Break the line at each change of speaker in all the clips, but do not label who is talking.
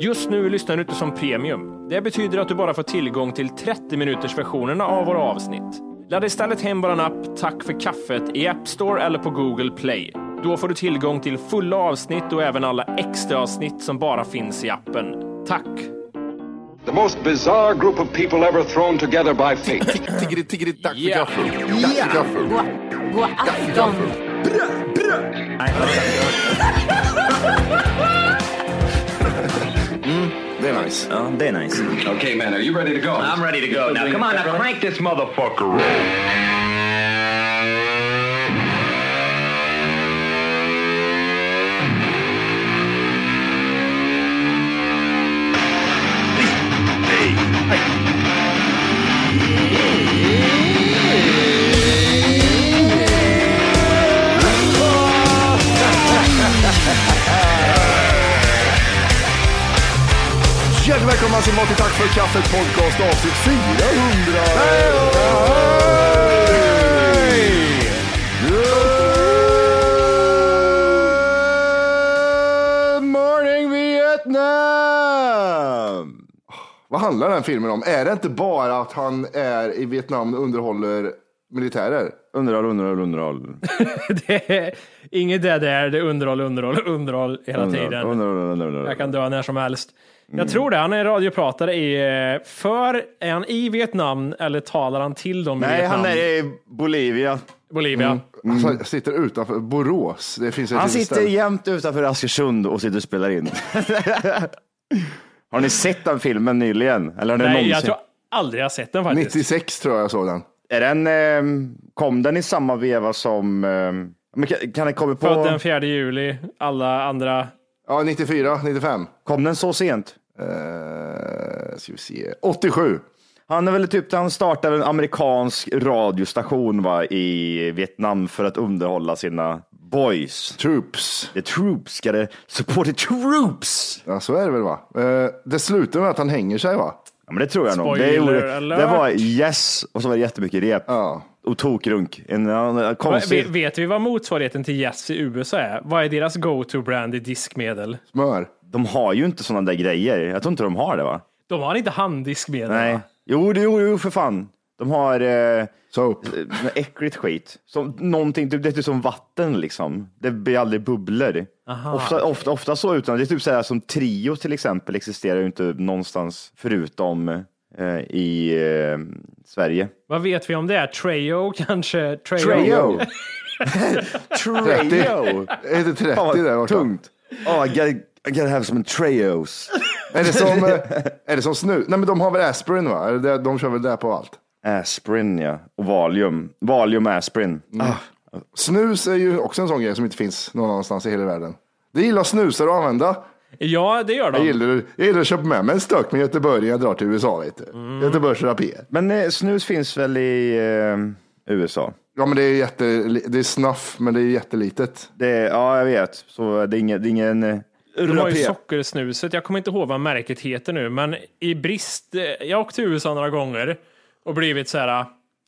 Just nu lyssnar du inte som premium. Det betyder att du bara får tillgång till 30 minuters versionerna av våra avsnitt. Ladda istället hem bara en app, Tack för kaffet, i App Store eller på Google Play. Då får du tillgång till fulla avsnitt och även alla extra avsnitt som bara finns i appen. Tack!
The most bizarre group of people ever thrown together by fate.
Tiggeri, tiggeri, tack för
Ja.
gaffel. Tack för gaffel.
God afton!
Det är nice.
Ja, det är nice.
okay, man, are you ready to go?
I'm ready to go. Now come on, now crank this motherfucker.
Hjärtligt välkomna till Martin Tack för kaffet podcast avsnitt 400. Good morning Vietnam! Vad handlar den filmen om? Är det inte bara att han är i Vietnam och underhåller militärer?
Underhåll, underhåll, underhåll.
det är inget det där, det är underhåll, underhåll, underhåll hela
Underhåll, Mm.
tiden.
underhåll, underhåll.
Jag kan dö när som helst. Jag tror det, han är radiopratare i... eh, För, är han i Vietnam eller talar han till dem i
Nej,
Vietnam?
han Mm. är i Bolivia.
Bolivia.
Alltså, sitter utanför Borås. Det finns ett
Han
litet
sitter
ställe.
jämt utanför Askersund och sitter och spelar in. har ni sett den filmen nyligen? Eller har ni
Nej,
någonsin?
jag tror aldrig jag har sett den faktiskt.
96 tror jag jag såg den.
Är den, ehm, kom den i samma veva som... ehm, men kan, kan den komma på...
Född den 4 juli, alla andra.
Ja, 94, 95.
Kom den så sent? Eh,
Uh, ska vi se. 87.
Han är väl typ, han startade en amerikansk radiostation va, i Vietnam för att underhålla sina boys.
Troops.
The troops, ska det support the troops?
Ja, så är det väl va? Eh, det slutar med att han hänger sig va?
Ja, men det tror jag nog. Det,
Spoiler
gjorde-
alert.
det var yes och så var det jättemycket rep.
Ja.
Och tokrunk. En, en, en
Ve-
konstig...
Vet vi vad motsvarigheten till Yes i USA är? Vad är deras go-to-brand i diskmedel?
Smör.
De har ju inte sådana där grejer. Jag tror inte de har det va?
De har inte handdiskmedel.
Nej.
va?
Jo, det- jo, jo för fan. De har eh,
Soap.
något äckligt skit. Som, någonting, typ, det är typ som vatten liksom. Det blir aldrig bubblor. Ofta, ofta, ofta så utan, det är typ så här som Trio till exempel existerar ju inte någonstans förutom eh, i eh, Sverige.
Vad vet vi om det? Treo kanske? Treo?
Treo! Treo!
30. Är det 30
Fan
där
vad
borta?
tungt. Oh, I, gotta, I gotta have some Treos.
Är det som, eh, är det som snu? Nej, men de har väl aspirin va? Är det- De kör väl det på allt.
Aspirin ja, och Valium. Valium aspirin.
Mm.
Ah,
Snus är ju också en sån grej som inte finns någon annanstans i hela världen. Det gillar snusare att använda.
Ja, det gör
Jag
de.
gillar, jag gillar att köpa med mig en stöck med Göteborg när jag drar till USA. Vet du.
Mm.
Göteborgs rapé.
Men eh, snus finns väl i eh, USA?
Ja, men det är, jätte, det är snuff, men det är jättelitet.
Det är, ja, jag vet. Så det är ingen... Det är ingen eh,
De har ju
rapé.
sockersnuset. Jag kommer inte ihåg vad märket heter nu, men i brist. eh, Jag åkte till USA några gånger och blivit så här. ah,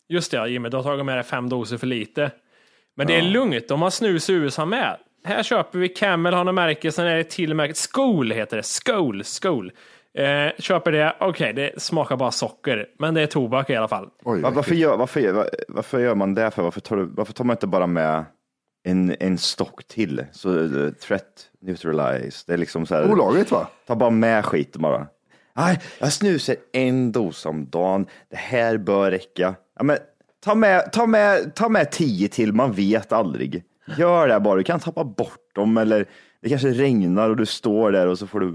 Just det, Jimmy, du har tagit med dig fem doser för lite. Men det är lugnt, de har snus i USA med. Här köper vi Camel, har något märke, sen är det till märket Skol heter det. Skol, Skol. Eh, köper det, okej, det smakar bara socker, men det är tobak i alla fall.
Oj,
Va- Varför gör, varför, gör- varför gör man det? för? Varför tar, du, varför tar man inte bara med en, en stock till. Så eh, threat neutralize. Det är liksom så här.
Olagligt va?
Ta bara med skiten bara. Nej, jag snusar en dos om dagen. Det här bör räcka. Ja, men, ta, med, ta, med, ta med tio till, man vet aldrig. Gör det bara, du kan tappa bort dem eller det kanske regnar och du står där och så får du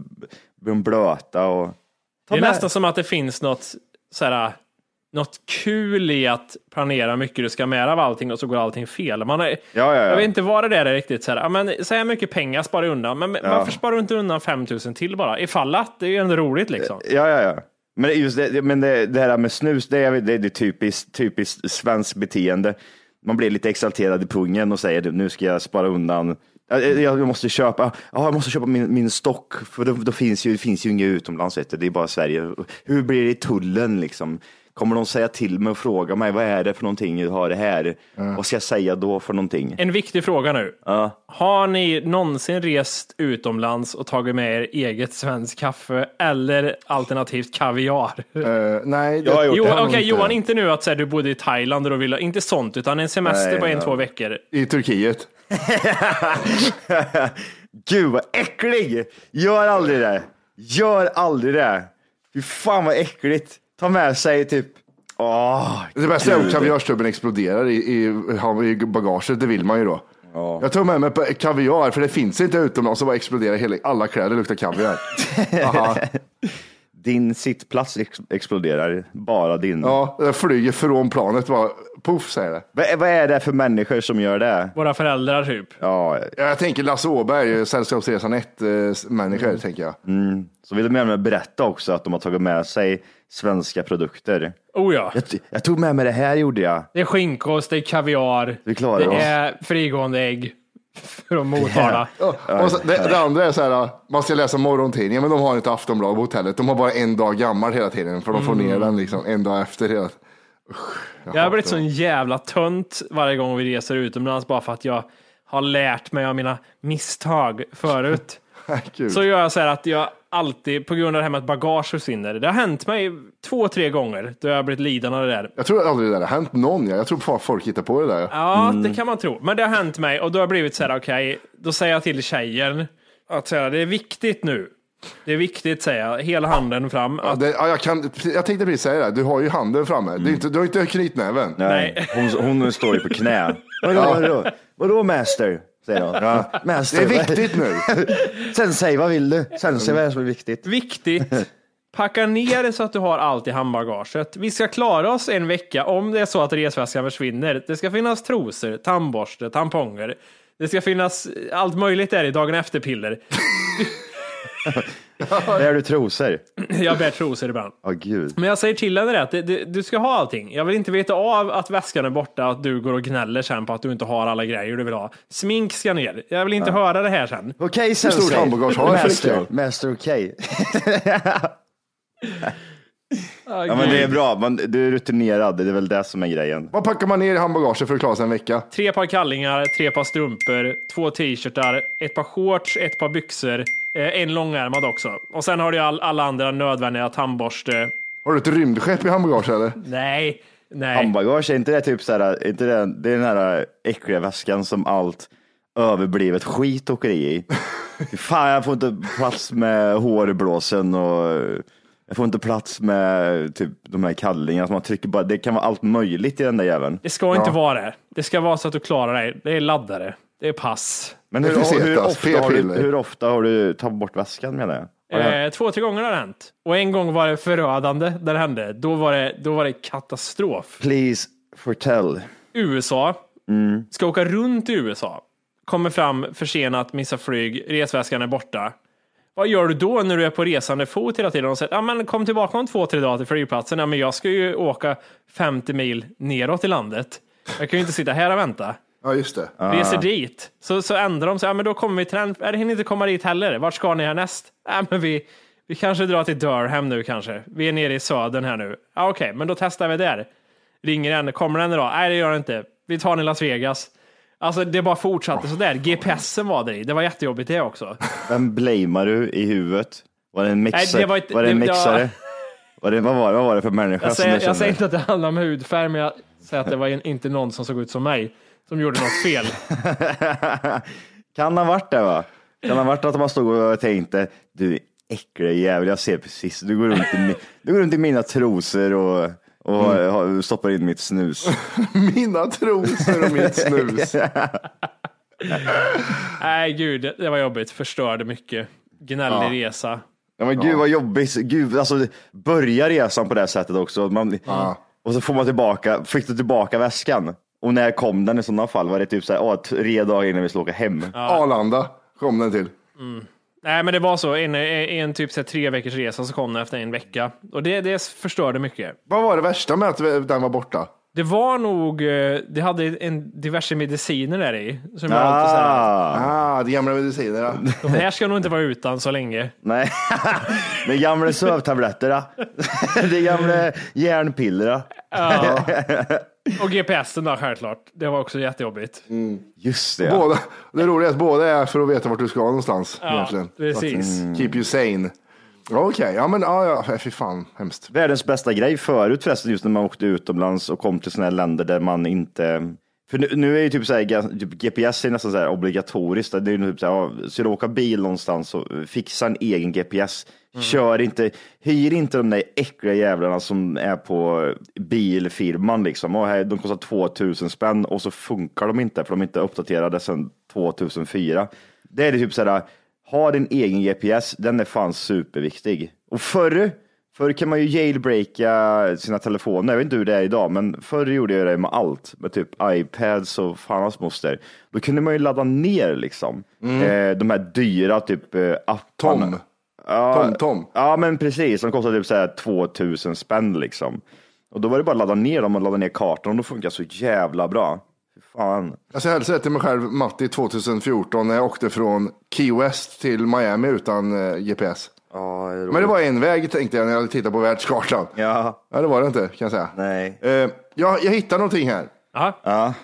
blir de blöta. Och... Ta
Det är
med-
nästan som att det finns något, så här, något kul i att planera hur mycket du ska med av allting och så går allting fel. Man har,
ja, ja.
Jag vet inte vad det där är riktigt. Så här, ja, men, så här mycket pengar sparar jag undan, men varför sparar du inte undan 5000 till bara? Ifall att, det är ju ändå roligt liksom.
Ja, ja, ja. Men det är just det, men det, det här med snus, det är, det är det typiskt, typiskt svenskt beteende. Man blir lite exalterad i pungen och säger nu ska jag spara undan. Jag, jag- jag måste köpa, ja, jag måste köpa min, min stock, för då, då finns ju, det finns ju inget utomlands, vet du. det är bara Sverige. Hur blir det i tullen liksom? Kommer de säga till mig och fråga mig, vad är det för någonting du har det här? Vad ska jag säga då för någonting?
En viktig fråga nu. Har ni någonsin rest utomlands och tagit med er eget svenskt kaffe eller alternativt kaviar?
Eh, nej, det,
Jag har gjort
Jo,
det.
Okej,
nog inte.
Johan, inte nu att säga du bodde i Thailand och då ville, inte sånt, utan en semester
Nej,
på en,
ja.
två veckor.
i Turkiet.
Gud vad äcklig! Gör aldrig det. Gör aldrig det. Fy fan vad äckligt. Ta med sig typ, åh.
Det bästa är om kaviarstubben exploderar i, i, i bagaget, det vill man ju då. Jag tog med mig pa- kaviar, för det finns inte utomlands, så bara exploderar hela, alla kläder luktar kaviar. Aha.
Din sittplats ex- exploderar, bara din.
Ja, det flyger från planet, bara poff säger det.
Vad, är- vad är det för människor som gör det?
Våra föräldrar typ.
Ja,
Ja, Jag tänker Lasse Åberg, eh, Sällskapsresan 1-människor,
Mm.
tänker jag.
så vill de gärna berätta också att de har tagit med sig svenska produkter.
Oh ja.
Jag, t- jag tog med mig det här gjorde jag.
Det är skinkost, det är kaviar,
Vi klarar
det
oss.
är frigående ägg från Motala.
Ja, Och så, det, det andra är så här, man ska läsa morgontidningen, men de har inte Aftonbladet på hotellet. De har bara en dag gammal hela tiden, för de får ner den liksom, en dag efter. Hela.
Jag har blivit sån jävla tönt varje gång vi reser utomlands bara för att jag har lärt mig av mina misstag förut.
Kul.
Så gör jag så här att jag alltid, på grund av det här med att bagage försvinner, det har hänt mig två, tre gånger då jag har blivit lidande av det där.
Jag tror aldrig det där har hänt någon. ja. Jag tror fan folk hittar på det där. ja.
Ja,
Mm.
det kan man tro. Men det har hänt mig och då har jag blivit så här, okej, då säger jag till tjejen att så här, det är viktigt nu. Det är viktigt, säger jag, hela handen fram.
Ja,
Att,
det, ja, jag, kan, jag tänkte precis säga det, här. du har ju handen framme. Du, är inte, du har inte knytnäven.
Nej. Hon, hon står ju på knä. Vadå, vadå, vadå master? Säger hon. Ja. Master,
Det är
vad-
viktigt nu.
Sensei, vad vill du? Sensei, vad är det som är viktigt?
Viktigt. Packa ner det så att du har allt i handbagaget. Vi ska klara oss en vecka om det är så att resväskan försvinner. Det ska finnas trosor, tandborste, tamponger. Det ska finnas eh, allt möjligt där i dagen efter-piller.
Bär du trosor?
Jag bär trosor ibland.
Ja, gud.
Men jag säger till henne det att det, det, du ska ha allting. Jag vill inte veta av att väskan är borta, att du går och gnäller sen på att du inte har alla grejer du vill ha. Smink ska ner. Jag vill inte höra det här sen.
Okej, sensei.
stort hamburgars har jag för
Master,
ikväll?
master okej. Ja, men det är bra. Man, du är rutinerad. Det är väl det som är grejen.
Vad packar man ner i handbagaget för att klara sig en vecka?
Tre par kallingar, tre par strumpor, två t-shirtar, ett par shorts, ett par byxor, eh, en långärmad också. Och sen har du all, alla andra nödvändiga tandborste.
Har du ett rymdskepp i handbagaget eller?
Nej, nej.
Handbagage, är inte det typ så här, inte det, det är den här äckliga väskan som allt överblivet skit åker i. Fy Fan, jag får inte plats med hårblåsen och jag får inte plats med typ de här kallingarna. som Man trycker bara, det kan vara allt möjligt i den där jäveln.
Det ska inte vara det. Det ska vara så att du klarar dig. Det är laddare. Det är pass.
Men
Det finns
hur, hur,
etas,
ofta har du,
p-piller.
hur ofta har du tagit bort väskan menar jag? Har det hänt?
Eh, två, tre gånger har det hänt. Och en gång var det förödande där det hände. Då var det, då var det katastrof.
Please fortell.
USA, ska åka runt i USA, kommer fram försenat, missar flyg, resväskan är borta. Vad gör du då när du är på resande fot hela tiden? Och säger, ja men kom tillbaka om två, tre dagar till flygplatsen. Ja, men jag ska ju åka 50 mil neråt i landet. Jag kan ju inte sitta här och vänta.
Ja, just det.
Reser dit, så, så ändrar de sig. Ja, men då kommer vi till den. Är det hinner inte komma dit heller. Vart ska ni härnäst? Ja, men vi, vi kanske drar till Durham nu kanske. Vi är nere i södern här nu. Ja, Okej, men då testar vi där. Ringer den, kommer den idag? Nej, det gör den inte. Vi tar den i Las Vegas. Alltså, det bara fortsatte sådär. GPSen var där i. Det var jättejobbigt det också.
Vem blamear du i huvudet? Var det en mixare?
Nej, det var
var,
ett-
det en
det- det var-
mixare? Var det, vad, var det, vad var det för människa
Jag
som
säger,
jag
jag säger inte
kände?
att det handlar om hudfärg, men jag säger att det var en, inte någon som såg ut som mig. som gjorde något fel.
Kan ha varit det va? Kan ha varit att man stod och tänkte, du äckliga jävel, jag ser precis, du går runt i, mi- du går runt i mina trosor och, och
Mm.
har- stoppar in mitt snus.
Mina trosor och mitt snus.
Nej, gud, det var jobbigt. Förstörde mycket. Gnällig resa.
Ja, men gud vad jobbigt, gud, alltså börja resan på det här sättet också. Man, Och så får man tillbaka, fick du tillbaka väskan? Och när kom den i sådana fall? Var det typ så här, åh, tre dagar innan vi skulle åka hem?
Arlanda kom den till.
Nej, men det var så. En, en typ så här, tre veckors resa så kom den efter en vecka. Och det, det förstörde mycket.
Vad var det värsta med att den var borta?
Det var nog, eh, det hade en diverse mediciner där i. Som jag alltid säger,
Ah,
Ah, det gamla medicinerna.
de här ska nog inte vara utan så länge.
nej. det är gamla sövtabletterna. det är gamla järnpillerna.
Och GPSen då självklart. Det var också jättejobbigt.
Just det.
Båda, det roliga är att båda är för att veta vart du ska någonstans.
Ja,
egentligen. mm,
precis.
Mm.
Keep you sane. Ja, Okej, ja men ja, ja, fy fan, hemskt.
Världens bästa grej förut förresten, just när man åkte utomlands och kom till sådana här länder där man inte... För nu, nu är ju typ, så här, ga- typ GPS är nästan så här obligatoriskt. Det är ju typ så här, ja, ska du åka bil någonstans så fixa en egen GPS. Kör inte, hyr inte de där äckliga jävlarna som är på bilfirman liksom. Och här, de kostar 2000 spänn och så funkar de inte för de är inte uppdaterade sedan 2004. Det är det typ så här, ha din egen GPS, den är fan superviktig. Och förr, Förr kan man ju jailbreaka sina telefoner. Jag vet inte hur det är idag, men förr gjorde jag det med allt. Med typ iPads och fan hans moster. Då kunde man ju ladda ner liksom. Eh, de här dyra typ eh, apparna.
Mm. Tom.
Ja,
Tom, Tom.
Ja, men precis. De kostade typ så här 2000 spänn liksom. Och då var det bara att ladda ner dem och ladda ner kartan och då funkar så jävla bra. Fy Fan.
Alltså, jag hälsade till mig själv, Matti, 2014 när jag åkte från Key West till Miami utan eh, GPS. men det var en väg tänkte jag när jag tittade på världskartan.
Ja,
Ja, det var det inte kan jag säga.
nej.
Eh, jag, jag hittade någonting här.
Aha.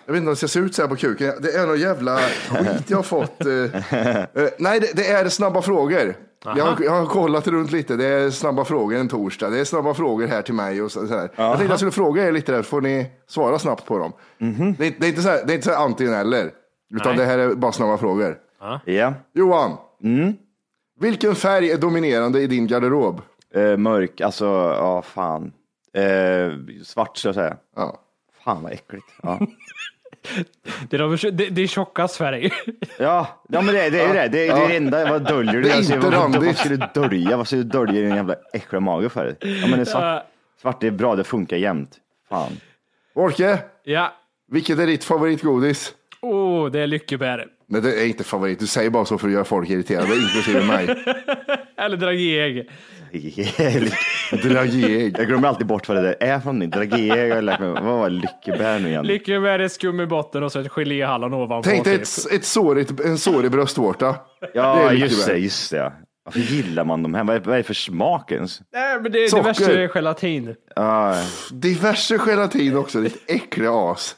Jag vet inte om det ska se ut så här på kuken. Det är någon jävla skit jag har fått. eh. Eh, nej, det, det är snabba frågor. Jag har, jag har kollat runt lite. Det är snabba frågor en torsdag. Det är snabba frågor här till mig. Och så, så här. Jag tänkte jag skulle fråga er lite där, får ni svara snabbt på dem. Det, är- det är inte så här, det är inte så här antingen eller,
Nej.
utan det här är bara snabba frågor.
Ja,
Johan, vilken färg är dominerande i din garderob?
eh, mörk, alltså, ja fan. Eh, svart ska jag säga.
Ja.
Fan vad äckligt. Ja.
Det, är de- det, det är tjocka Sverige.
Ja, ja men det, det är ju det. Det är det enda. Vad döljer du?
Det är
Alltså,
inte
vad, vad,
randigt.
vad ska du dölja? Vad ska du dölja i din jävla äckliga mage för? Ja, men det är svart. svart det är bra, det funkar jämt. Fan.
Orke,
ja,
vilket är ditt favoritgodis?
oh, det är lyckebär.
Nej, det är inte favorit. Du säger bara så för att göra folk irriterade, inklusive mig.
Eller drageägg.
Dragieg.
Jag glömmer alltid bort vad det där är för någonting. Dragé, jag har lärt mig. Vad var lyckebär nu igen?
Lyckebär är skum i botten och så ett geléhallon ovanpå.
Tänk dig
typ.
ett, ett sårigt, en sårig bröstvårta. Det
Ja,
är
just
lyckebär.
det, just det. Varför gillar man de här? Vad är, vad är det för smak ens?
Nej, men det är
Socker.
diverse gelatin.
Ja,
Diverse gelatin också, ditt äckliga as.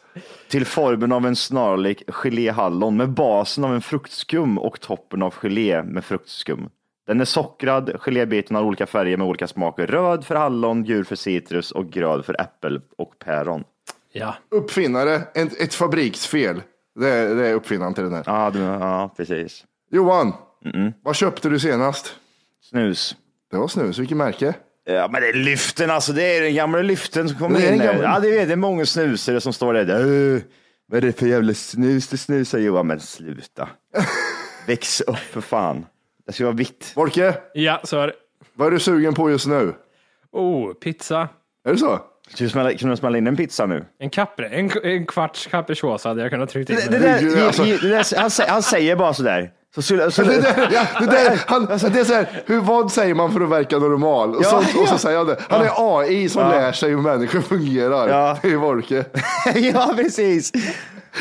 till formen av en snarlik geléhallon med basen av en fruktskum och toppen av gelé med fruktskum. Den är sockrad, gelébiten har olika färger med olika smaker. Röd för hallon, gul för citrus och grön för äppel och päron.
Ja.
Uppfinnare, en, ett fabriksfel. Det är, det är uppfinnaren till den här.
Ja, du, ja precis.
Johan, vad köpte du senast?
Snus.
Det var snus, vilket märke?
Ja, men det är lyften alltså. Det är den gamla lyften som kommer
Det är
in.
den
där.
gamla-
Ja, det är, det är många snusare som står där. "Åh, Vad är det för jävla snus du snusar Johan? Men sluta. Väx upp för fan. Det ska vara vitt.
Volke,
Ja, så är det.
vad är du sugen på just nu?
Oh, pizza.
Är det så?
Ska du smälla- Kan du smälla in en pizza nu?
En kapre. En, en kvarts capricciosa hade jag kunnat trycka in.
Det, det
den.
där,
Gud,
ge-
alltså.
ge- det där, han, sä- han säger bara sådär. Så, så, så,
Det, där, ja, det, där, han, det är så här, hur, vad säger man för att verka normal? Och,
Alltså- Ja,
så, och
ja.
så säger han det. Han är AI som lär sig hur människor fungerar.
Ja.
Det är Volke.
ja, precis.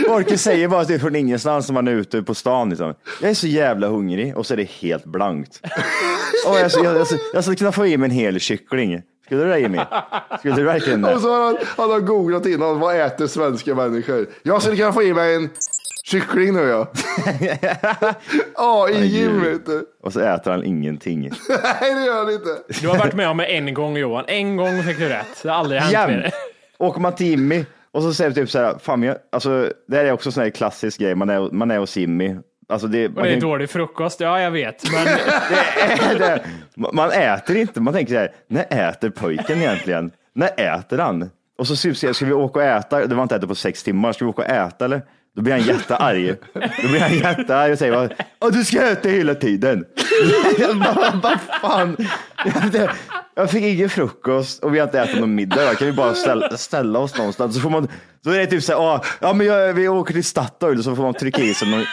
Orke säger bara att det är från ingenstans när man är ute på stan. Liksom. Jag är så jävla hungrig och så är det helt blankt. Och jag, så- jag, jag, så- jag skulle kunna få i mig en hel kyckling. Skulle du det Jimmy? Skulle du verkligen
Och
det?
så har han, han har googlat innan, vad äter svenska människor? Jag skulle kunna få i mig en kyckling nu ja. AI-Jim vet du.
Och så äter han ingenting.
Nej det gör han inte.
Du har varit med om det en gång Johan. En gång fick du rätt. Det har aldrig hänt mer.
Jämt. Åker man till Jimmy Och så säger vi typ så här, fan men jag, alltså det här är också en sån här klassisk grej, man är, man är hos Simmy. Alltså det,
Och
man,
det är
kan-
dålig frukost, ja jag vet. Men
man man äter inte, man tänker så här, när äter pojken egentligen? när äter han? Och så ska, ska vi åka och äta, det var inte ätit på sex timmar, ska vi åka och äta eller? Då blir han jättearg. Då blir han jättearg och säger, bara, "Ja, du ska äta hela tiden. Jag bara, Vad fan? Jag fick ingen frukost och vi har inte ätit någon middag. idag. Kan vi bara ställa, ställa oss någonstans? Så får man, då är det typ så här, "Ah, ja men jag, vi åker till Statoil så får man trycka i sig någon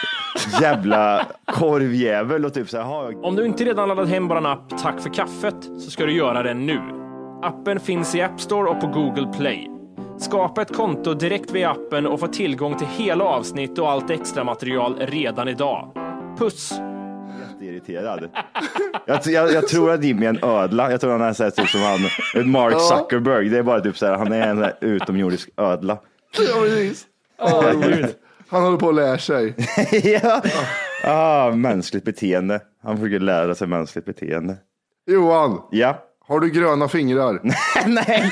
jävla korvjävel och typ så här, "Jaha, jag
Om du inte redan laddat hem vår app Tack för kaffet så ska du göra det nu. Appen finns i App Store och på Google Play. Skapa ett konto direkt via appen och få tillgång till hela avsnitt och allt extra material redan idag. Puss!
jätteirriterad. Jag, jag, jag tror att Jimmy är en ödla. Jag tror han är så här, typ som han, Mark Zuckerberg. Det är bara typ så här, han är en så här, utomjordisk ödla.
Ja, precis. Han håller på att lära sig.
ja. ah, mänskligt beteende. Han försöker lära sig mänskligt beteende.
Johan,
Ja.
har du gröna fingrar?
Nej.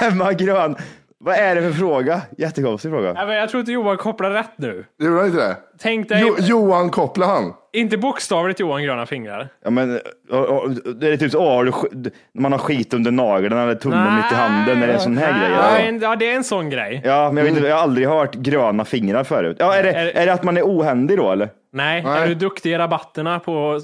Vem har grön? Vad är det för fråga? Jättekonstig fråga.
Nej, men Jag tror inte Johan kopplar rätt nu.
Gjorde han inte det?
Tänk dig,
Jo, Johan kopplar han.
inte bokstavligt Johan gröna fingrar.
Ja, men, och, och, det är typ så, åh, har du, sk- man har skit under nageln eller tummen mitt i handen. Är det en sån här grej?
Nej, en- Ja, det är en sån grej.
Ja, men jag, vet inte, jag har aldrig hört gröna fingrar förut. Ja, är, det,
Är-
är det att man är ohändig då eller?
Nej,
Nej.
är du duktig i rabatterna på att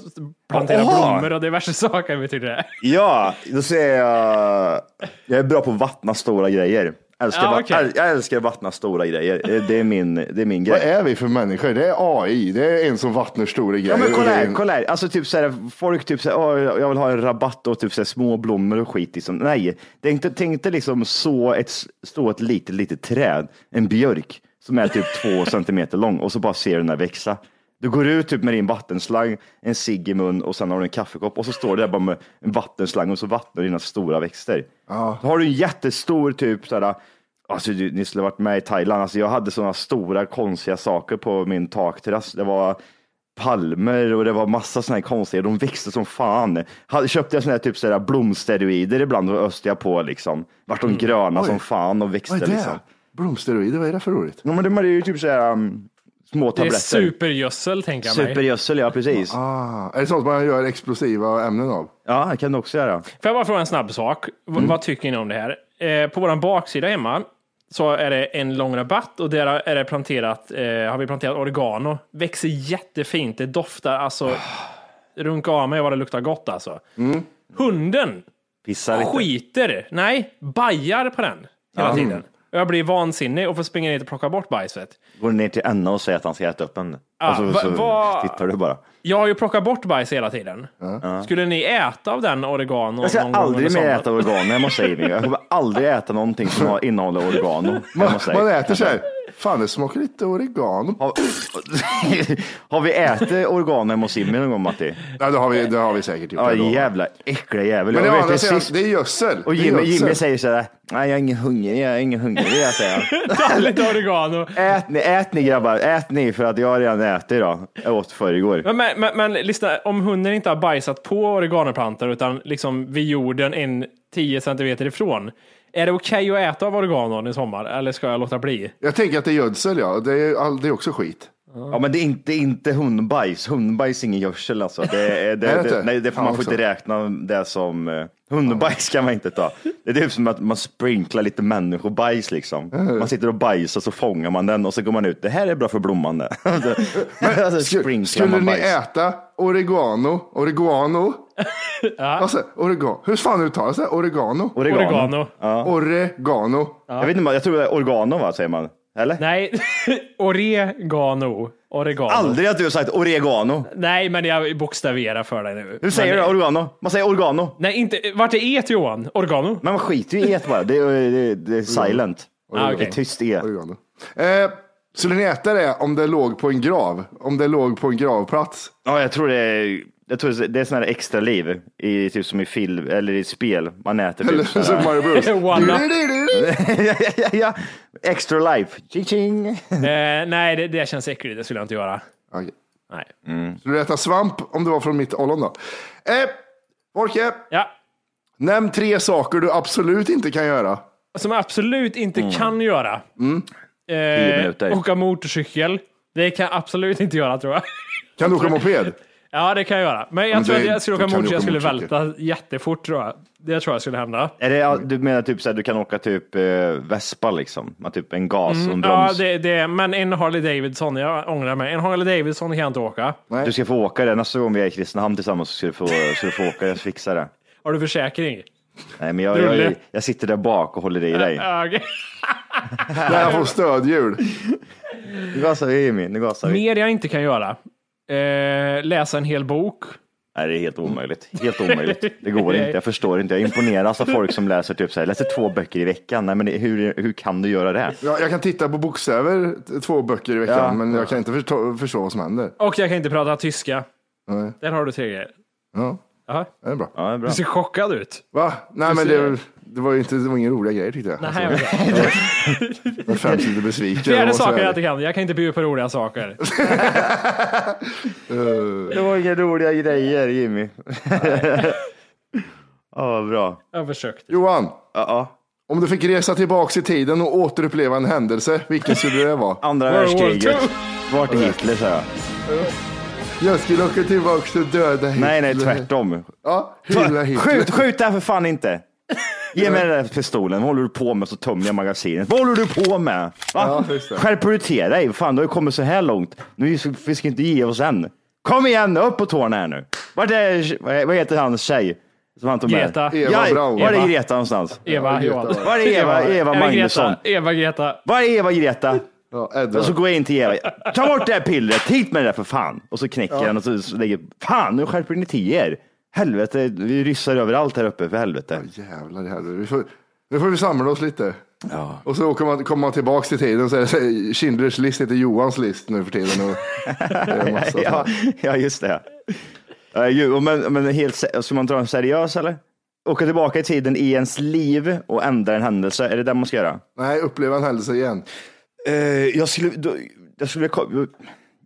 plantera
Jaha.
blommor och diverse saker betyder det.
Ja, då säger jag... Jag är bra på att vattna stora grejer. Älskar
Ja,
va-
okej.
äl- Jag älskar att vattna stora grejer. Eh, Det är min, det är min
Vad
grej.
är vi för människor? Det är AI. Det är en som vattnar stora grejer.
Ja, men kolla här,
Och-
kolla här. Alltså typ så här, folk typ så här, "Åh, jag vill ha en rabatt och typ så här, små blommor och skit. Liksom. Nej, tänk dig- tänk dig liksom så ett, stå ett litet, litet träd, en björk som är typ två centimeter lång och så bara ser du den här växa. Du går ut typ med din vattenslang, en cigg i mun och sen har du en kaffekopp och så står du där bara med en vattenslang och så vattnar du dina stora växter. Då har du en jättestor typ så här, alltså du, ni skulle varit med i Thailand, alltså jag hade sådana stora konstiga saker på min takterrass. Det var palmer och det var massa sådana här konstiga, de växte som fan. Hade, köpte jag sådana här typ sådär blomsteroider ibland och öste jag på liksom. Vart
Mm.
de gröna som fan och växte
Vad är
liksom.
det? Blomsteroider, vad är det för roligt?
Ja, men de hade ju typ sådär um, små
Det är
tabletter.
supergödsel tänker jag mig.
Supergödsel, ja precis.
Ah, är det sånt man gör explosiva ämnen av?
Ja, det kan du också göra.
Får jag bara fråga en snabb sak? V-
Mm.
Vad tycker ni om det här? Eh, på vår baksida hemma så är det en lång rabatt och där är det planterat, eh, har vi planterat oregano. Växer jättefint, det doftar alltså,
Ah.
runka av mig vad det luktar gott alltså.
Mm.
Hunden
Pissa lite.
skiter, nej, bajar på den hela tiden. Och jag blir vansinnig och får springa ner och plocka bort bajset.
Går ner till Anna och säger att han ska äta upp den.
Ja,
och så,
Ah, va-
så
va-
tittar du bara.
Jag har ju plockat bort bajs hela tiden. Skulle ni äta av den oregano
Jag ska
någon gång under
aldrig mer
sommaren?
äta oregano hemma hos Amy. Jag kommer aldrig äta någonting som har- innehåller oregano. hemma
Man,
hos dig.
man äter så här. Fan, det smakar lite oregano.
Har, har vi ätit organ hemma hos Jimmy någon gång Matti?
Nej, det har vi, det har vi säkert gjort.
Ja
ändå.
jävla äckliga jävel.
Men det,
Jag
å
vet
andra sidan,
precis-
det är gödsel.
och
Det är
Jimmy,
gödsel.
Jimmy säger sådär, nej jag är ingen hungrig, jag är ingen hungrig, jag säger han.
Ta lite oregano.
ät, ni, ät ni grabbar, ät ni för att jag har redan ätit idag. Jag åt förr igår.
Men, men, men, men lyssna, om hunden inte har bajsat på oreganoplantor utan liksom vid jorden en 10 centimeter ifrån. Är det okej att äta av oreganon i sommar eller ska jag låta bli?
Jag tänker att det är gödsel, ja. Det är, all, det är också skit.
Ja, men det är inte, inte hundbajs. Hundbajs är ingen gödsel alltså. Det, är-
Är det
det, det,
inte?
nej, det får man
Fan
får inte
också.
räkna det som... eh, Hundbajs kan man inte ta. Det är typ som att man sprinklar lite människobajs liksom. Man sitter och bajsar så fångar man den och så går man ut. Det här är bra för blomman det. alltså, sprinklar
Skulle
man
ni
bajs.
äta oregano? Oregano? alltså, oregano. Hur fan uttalas det? Oregano?
Oregano.
Oregano.
Oregano.
Jag vet inte, jag tror det är organo va, säger man? Eller?
Nej, oregano. Oregano.
Aldrig att du har sagt oregano.
Nej, men jag bokstaverar för dig nu.
Hur säger
men,
du organo? Man säger organo.
Nej, inte. Vart är E till Johan? Organo?
Men man skiter ju i et bara. Det är, det är, det är silent.
Ah,
Det
okej.
är tyst e.
oregano. Eh, skulle ni äta det om det låg på en grav? Om det låg på en gravplats?
Ja, jag tror det är, jag tror det är sån här extra liv i typ som i film eller i spel. Man äter
Eller
typ
Super
sån
Mario Bros.
One up.
Du-du-du-du-du.
ja, ja, ja. Extra life. Ching-ching.
Eh, nej, det, det känns äckligt. Det skulle jag inte göra.
Okej.
Nej.
Skulle du äta svamp om det var från mitt ollon då? Eh, Folke,
Ja.
nämn tre saker du absolut inte kan göra.
Som jag absolut inte
Mm.
kan göra.
Tio minuter.
Eh, åka motorcykel. Det kan jag absolut inte göra tror jag.
Kan du åka moped?
Ja, det kan jag göra. Men jag
Men
tror
det-
att jag skulle
då
åka
kan du
motorcykel. Jag
åka
skulle
motorcykel.
välta jättefort tror jag. Det tror jag skulle hända.
Är det, du menar typ så här, du kan åka typ eh, Vespa liksom? Man typ en gas och en
Mm, Ja,
broms.
det, det, men en Harley Davidson, jag ångrar mig. En Harley Davidson kan jag inte åka.
Du ska få åka det. Nästa gång vi är i Kristinehamn tillsammans så ska du få, ska du få åka det. Jag fixar det.
Har du försäkring?
Nej, men jag, jag,
Rulle.
jag, sitter där bak och håller i dig.
Ja, okej.
När jag får stödhjul.
Nu gasar vi Jimmy, nu gasar vi.
Mer jag inte kan göra. Eh, läsa en hel bok.
Nej, det är helt omöjligt. Helt omöjligt. Det går inte. Jag förstår inte. Jag imponeras av folk som läser typ så här, läser två böcker i veckan. Nej, men det- hur, hur kan du göra det?
Jag, jag kan titta på bokstäver t- två böcker i veckan,
Ja.
men jag kan inte förstå, förstå vad som händer.
Och jag kan inte prata tyska.
Nej.
Där har du tre grejer.
Ja,
Jaha.
det är bra.
Ja, det är bra.
Du ser chockad ut.
Va? Nej, men
ser-
det, det var ju inte, det var inga roliga grejer tyckte jag.
Nej,
Alltså,
okej.
jag är fem sidor besviken. jag
Fjärde
måste
saker
säga
jag
det.
inte kan. Jag kan inte bjuda på roliga saker.
Det var inga roliga grejer, Jimmy. Ja, vad bra.
Jag har försökt.
Johan,
Ja,
om du fick resa tillbaks i tiden och återuppleva en händelse, vilken skulle det vara?
Andra
World War
världskriget.
Two.
Vart är Hitler, sa jag.
Jag skulle åka tillbaks och döda Hitler.
Nej, nej, tvärtom.
Ja, hylla Hitler.
Skjut, skjut det här för fan inte. Ge mig den där pistolen. Vad håller du på med? Så tömmer jag magasinet. Vad håller du på med? Va?
Ja, just det.
Skärper du till dig? Fan, du har ju kommit så här långt. Nu ska vi ska inte ge oss än. Kom igen, upp på tårna här nu. Vart är, vad är- vad heter hans tjej? Som han tog med?
Greta.
Eva Braun.
Var
Eva.
är Greta någonstans?
Eva,
Greta
Johan.
var
Var är Eva, Eva
Eller
Magnusson?
Greta. Eva, Greta.
Var är Eva Greta?
Ja,
Och så
Edward.
går jag in till Eva. Ta bort det här pillret. Hit med det där för fan. Och så knäcker jag den och så så lägger Fan, nu skärper ni till er. Helvete, vi ryssar överallt här uppe för helvete.
Jävlar i helvete. Vi får, nu får vi samla oss lite. Och så kommer man, kommer man tillbaks till tiden så är det så här, Schindler's list heter Johans list nu för tiden. Och det är en massa
ja, ja, just det. Eh, ju, men, men helt, se- alltså, ska man dra en seriös eller? Åka tillbaka i tiden i ens liv och ändra en händelse, är det det man ska göra?
Nej, uppleva en händelse igen.
Eh, jag, skulle, då, jag, skulle, ko-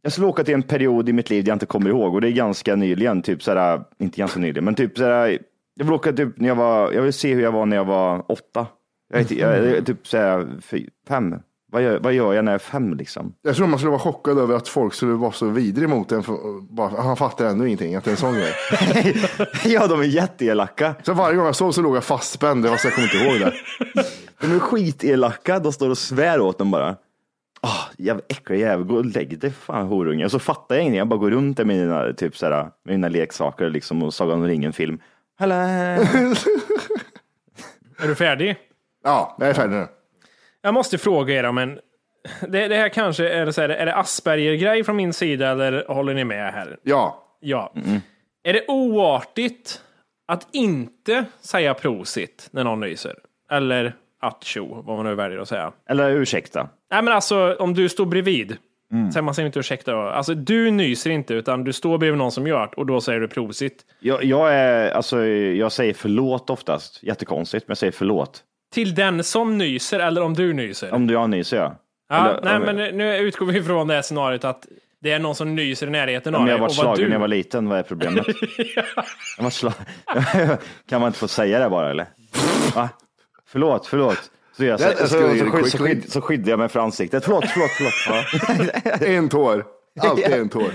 jag skulle åka till en period i mitt liv jag inte kommer ihåg och det är ganska nyligen, typ såhär, inte ganska nyligen, men typ såhär, jag vill åka typ när jag var, jag vill se hur jag var när jag var åtta. Jag är, ty- jag är typ såhär, fy- fem. Vad gör, vad gör jag när jag är fem liksom?
Jag tror man skulle vara chockad över att folk skulle vara så vidriga mot en. För, bara, han fattar ändå ingenting, att det är en sån grej.
ja, de är jätteelaka.
Så varje gång jag såg så låg jag fastspänd, fast jag kommer inte ihåg det.
De är skitelaka, de står och svär åt dem bara. Ah, jävla äcklig jävel, gå och lägg dig för fan horunge. Och så fattar jag ingenting, jag bara går runt där med mina, typ, såhär, med mina leksaker liksom, och Sagan om ringen-film. Hallå!
Är du färdig?
Ja, jag är färdig nu.
Jag måste fråga er om en... Det, det här kanske är, så här, är det Asperger-grej från min sida eller håller ni med här?
Ja,
Ja. Är det oartigt att inte säga prosit när någon nyser? Eller attjo, vad man nu väljer att säga.
Eller ursäkta.
Nej men alltså, om du står bredvid.
Mm.
Sen man säger inte ursäkta. då. Alltså du nyser inte, utan du står bredvid någon som gör det och då säger du prosit.
Jag, jag, är, alltså, jag säger förlåt oftast, jättekonstigt, men jag säger förlåt.
Till den som nyser eller om du nyser.
Om du jag nyser jag.
ja,
Eller
nej
om-
men nu utgår vi ifrån det här scenariot att det är någon som nyser i närheten av
Om jag
dig.
varit
och vad
slagen
du-
när jag var liten, vad är problemet? jag var sla... kan man inte få säga det bara eller? Va? Förlåt, förlåt. Så, jag, så,
That
så, så,
escalated
skyd, så,
quickly.
skyd, så skyddar jag mig för ansiktet. Förlåt, förlåt, förlåt. Ja.
En tår. Alltid en tår.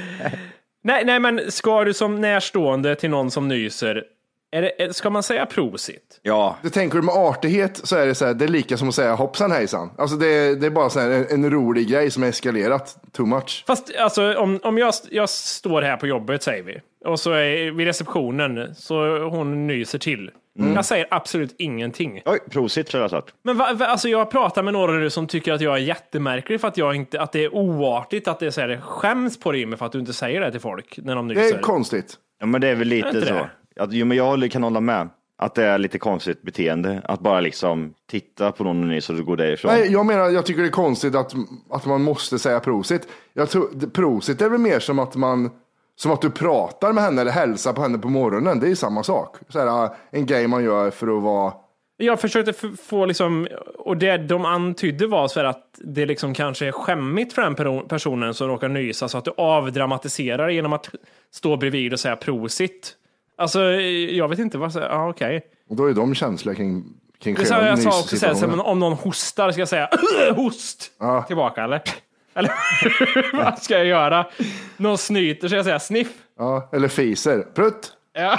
Nej, nej, men ska du som närstående till någon som nyser, är det, är- ska man säga prosit?
ja,
Det tänker du med artighet så är det så här, det är lika som att säga hoppsan hejsan. Alltså det, är- det är bara så här, en, en rolig grej som har eskalerat too much.
Fast alltså, om, om jag, jag står här på jobbet, säger vi, och så är vid receptionen, så hon nyser till.
Mm.
Jag säger absolut ingenting.
oj, prosit tror jag sagt.
Men va, va, alltså jag pratar med några nu som tycker att jag är jättemärklig för att, jag inte, att det är oartigt, att det är så här, skäms på dig med för att du inte säger det till folk när de nyser.
Det är konstigt.
Ja, men det är väl lite
Är det inte
så.
det?
Att, jo, men jag håller- kan hålla med. Att det är lite konstigt beteende. Att bara liksom titta på någon och nyss och gå därifrån.
Nej, jag menar, jag tycker det är konstigt att, att man måste säga prosit. Jag tror, det- prosit är väl mer som att man som att du pratar med henne eller hälsar på henne på morgonen. Det är ju samma sak. Så här, en grej man gör för att vara...
Jag försökte f- få liksom, och det de antydde var så här att det liksom kanske är skämmigt för den peron- personen som råkar nysa så att du avdramatiserar genom att stå bredvid och säga prosit. Alltså, jag vet inte vad, så- ja okej.
Och då är de känsliga kring, kring
Det sa jag sa också så här, så
nyssituationen.
här, men om någon hostar ska jag säga host tillbaka eller? Eller vad ska jag göra? Någon snyter ska jag säga sniff.
Ja, eller fiser. Prutt!
Ja.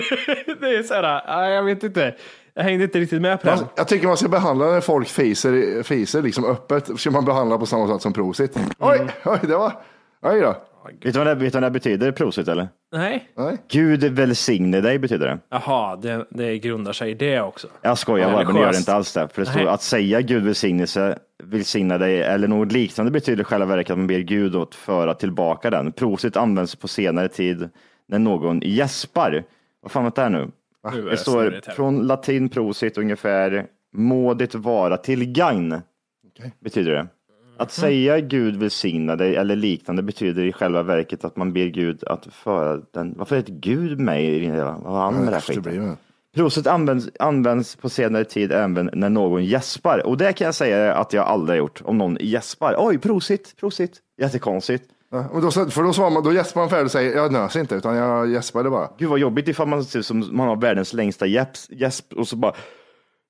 det är så här, ja, jag vet inte. Jag hängde inte riktigt med på den.
Alltså, jag tycker man ska behandla när folk fiser, fiser liksom öppet, ska man behandla på samma sätt som prosit. Oj, oj, det var... Oj då.
Vet du vad det, vet du vad det betyder, prosit eller?
Nej.
Gud välsigne dig betyder det.
Jaha, det, det grundar sig i det också.
Jag skojar
Ja,
bara, men det gör det
religiöst.
inte alls det. För det står
Nej.
att säga Gud välsignelse, välsigna dig eller något liknande betyder i själva verket att man ber Gud att föra tillbaka den. Prosit används på senare tid när någon gäspar. Vad fan var det här nu?
Nu är
Det står
snurrigt här.
från latin prosit ungefär må det vara till gagn. Betyder det. Att
Mhm.
säga Gud välsigna dig eller liknande betyder i själva verket att man ber Gud att föra den. Varför är det Gud med i det hela? Vad har han med det här skiten?
Efterbliven.
Prosit används, används på senare tid även när någon gäspar. Och det kan jag säga att jag aldrig har gjort om någon gäspar. Oj, prosit, prosit. Jättekonstigt.
Ja, men då, för då, svarar man, då gäspar man färdigt och säger jag nös inte, utan jag gäspade bara.
Gud vad jobbigt ifall man ser ut som man har världens längsta gäsp, gäsp och så bara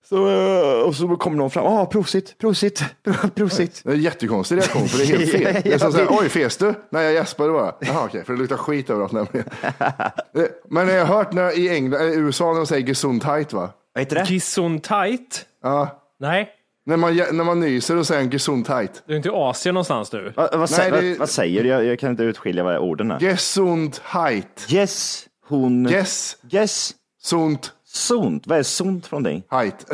så, eh, och så kommer någon fram. Ah, prosit, prosit, pro- prosit.
Det är en jättekonstig reaktion, för det är helt fel. Det är som så här, oj, fes du? Nej, jag gäspade bara. Jaha, okej, för det luktar skit överallt nämligen. Eh, Men jag har hört när, i England, eh, USA när de säger gesundheit, va?
Vad heter det?
Gesundheit?
Ja.
Nej,
När man, när man nyser och säger en gesundheit.
du är inte i Asien någonstans du.
Va, vad, sä-
Nej, det-
vad, vad säger du? Jag, jag kan inte utskilja vad orden är.
Gesundheit.
Yes, hon.
Yes,
Yes,
sundheit.
sunt. Vad är sunt från dig?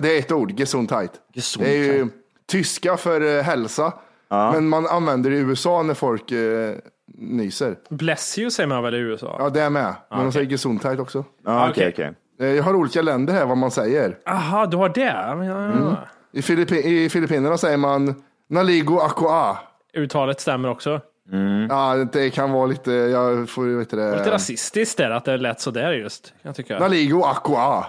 Det är ett ord, gesundheit. Det
Gesundheit.
är ju tyska för eh, hälsa, men man använder det i USA när folk eh, nyser.
Bless you säger man väl i USA?
Ja, det är med. Men de säger gesundheit också.
Ja, Ah, okej,
okej.
okej.
Eh, Jag har olika länder här vad man säger.
Aha, du har det? Ja, ja, ja.
I, Filippi- I Filippinerna säger man Naligo Aqua.
Uttalet stämmer också.
Ja, det kan vara lite, jag får vet du
Lite
det.
rasistiskt är det att det lät sådär just. Jag tycker.
Naligo Aqua.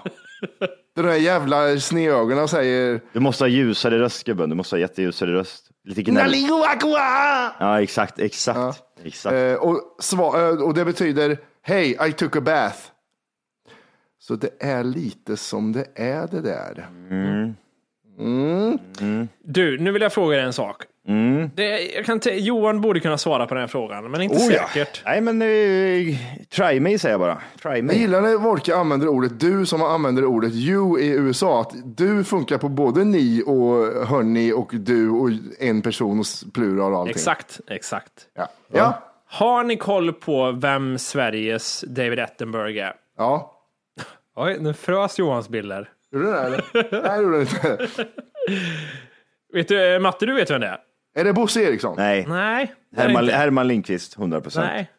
De där jävla snedögonen säger
Du måste ha ljusare röst gubben. Du måste ha jätteljusare röst. Lite gnäll.
Naligo Aqua.
Ja, exakt, exakt. exakt.
Eh, och, sva- eh, och det betyder Hej, I took a bath. Så det är lite som det är det där.
Du, nu vill jag fråga dig en sak.
Mm.
Det, jag kan t- Johan borde kunna svara på den här frågan, men inte
Oh, ja.
säkert.
Nej, men eh, try me säger jag bara. Try me.
Jag gillar när Wolke använder ordet du som använder ordet you i USA. Att du funkar på både ni och hörni och du och en person och s- plural och allting.
Exakt, exakt.
Ja. Ja.
Har ni koll på vem Sveriges David Attenborough är?
ja.
Oj, nu frös Johans bilder.
Gjorde du det? Eller? Nej, gjorde du inte.
Vet du, eh, Matte, du vet vem det är?
Är det Bosse Eriksson?
Nej,
Nej. det är det
Herman,
inte.
Herman Lindqvist, 100 procent.
Nej.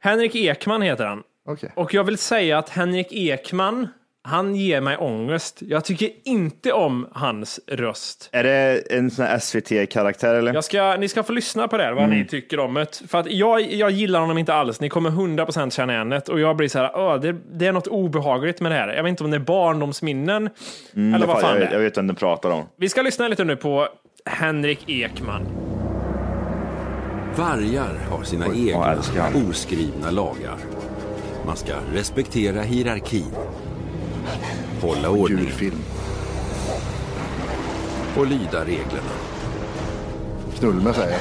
Henrik Ekman heter han.
Okej.
Och jag vill säga att Henrik Ekman, han ger mig ångest. Jag tycker inte om hans röst.
Är det en sån här SVT-karaktär eller?
Jag ska, ni ska få lyssna på det här, vad
Mm.
ni tycker om det. För att jag, jag gillar honom inte alls. Ni kommer 100% känna igen det. Och jag blir så här, "Åh, det, det är något obehagligt med det här. Jag vet inte om det är barndomsminnen eller vad fan det
Mm, jag, jag
är.
vet vem du pratar om.
Vi ska lyssna lite nu på Henrik Ekman.
Vargar har sina
jag älskar
egna
han.
oskrivna lagar. Man ska respektera hierarkin, hålla ordning
Djurfilm.
och lyda reglerna.
Knull med säger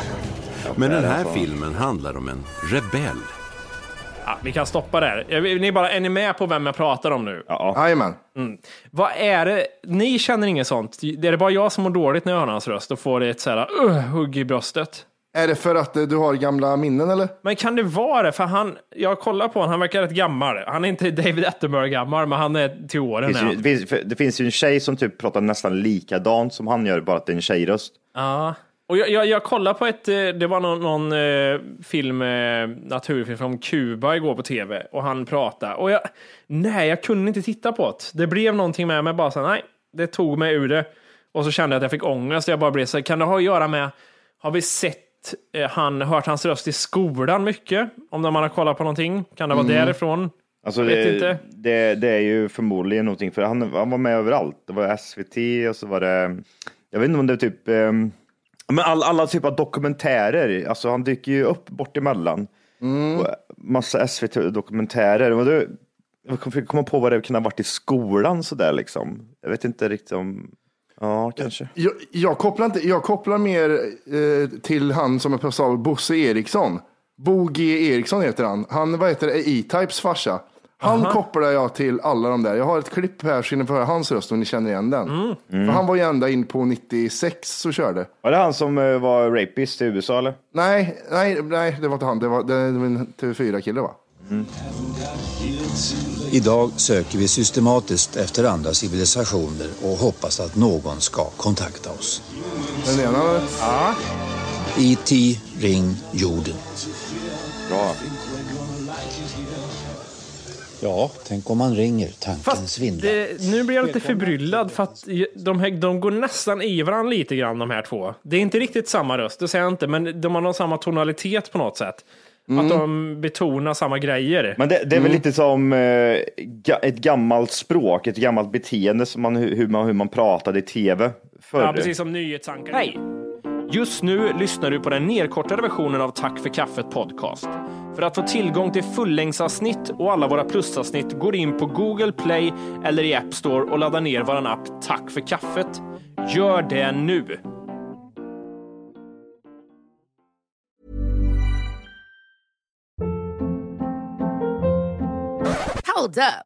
jag.
Men den
alltså-
här filmen handlar om en rebell.
Ja, vi kan stoppa där. Jag vill- Ni bara, är ni med på vem jag pratar om nu?
Jajamän.
Mm. Vad är det? Ni känner inget sånt? Det är det bara jag som mår dåligt när jag hör hans röst och får ett sådär uh, hugg i bröstet?
Är det för att eh, du har gamla minnen eller?
Men kan det vara det? För han, jag kollar på honom, han verkar rätt gammal. Han är inte David Attenborough gammal, men han är till
Det
åren.
finns,
Ju...
ju, det, finns, för det finns ju en tjej som typ pratar nästan likadant som han gör, bara att det är en tjejröst.
Och jag, jag, jag kollade på ett, eh, det var någon, någon eh, film, eh, naturfilm från Kuba igår på tv och han pratade. Och jag, nej, jag kunde inte titta på det. Det blev någonting med mig, bara så här, nej, det tog mig ur det. Och så kände jag att jag fick ångest och jag bara blev så här, kan det ha att göra med, har vi sett eh, han, hört hans röst i skolan mycket? Om man har kollat på någonting, kan det vara därifrån?
Alltså
Jag vet
det,
inte.
det, det är ju förmodligen någonting, för han, han var med överallt. Det var SVT och så var det, jag vet inte om det är typ, ehm, men all, alla typer av dokumentärer, alltså han dyker ju upp bort emellan. Och Massa SVT-dokumentärer. Och det, jag kom- fick komma på vad det kan ha varit i skolan sådär liksom. Jag vet inte riktigt om, ja kanske.
Jag, jag, kopplar, inte, jag kopplar mer eh, till han som är professor, Bosse Eriksson. Bo G Eriksson heter han. Han vad heter det, är E-Types farsa. Han kopplar jag till alla de där. Jag har ett klipp här så ni får höra hans röst om ni känner igen den. För han var ju ända in på 96 så körde.
Var det han som eh, var rapist i USA eller?
Nej, nej, nej, det var inte han. Det var, det var en TV4-kille va?
Idag söker vi systematiskt efter andra civilisationer och hoppas att någon ska kontakta oss.
Den ena, eller?
IT, ring jorden.
Bra.
Ja, tänk om man ringer, tanken
Fast
svindlar.
det, nu blir jag lite förbryllad för att de, här, de går nästan i varandra lite grann de här två. Det är inte riktigt samma röst, det säger jag inte, men de har någon samma tonalitet på något sätt. Att de betonar samma grejer.
Men det, det är
Mm.
väl lite som eh, ga, ett gammalt språk, ett gammalt beteende som man, hur, man, hur man pratade i tv förr.
Ja, precis som nyhetsankare. Hej! Just nu lyssnar du på den nedkortade versionen av Tack för kaffet podcast. För att få tillgång till fullängdsavsnitt och alla våra plusavsnitt går in på Google Play eller i App Store och laddar ner vår app Tack för kaffet. Gör det nu!
Hold up.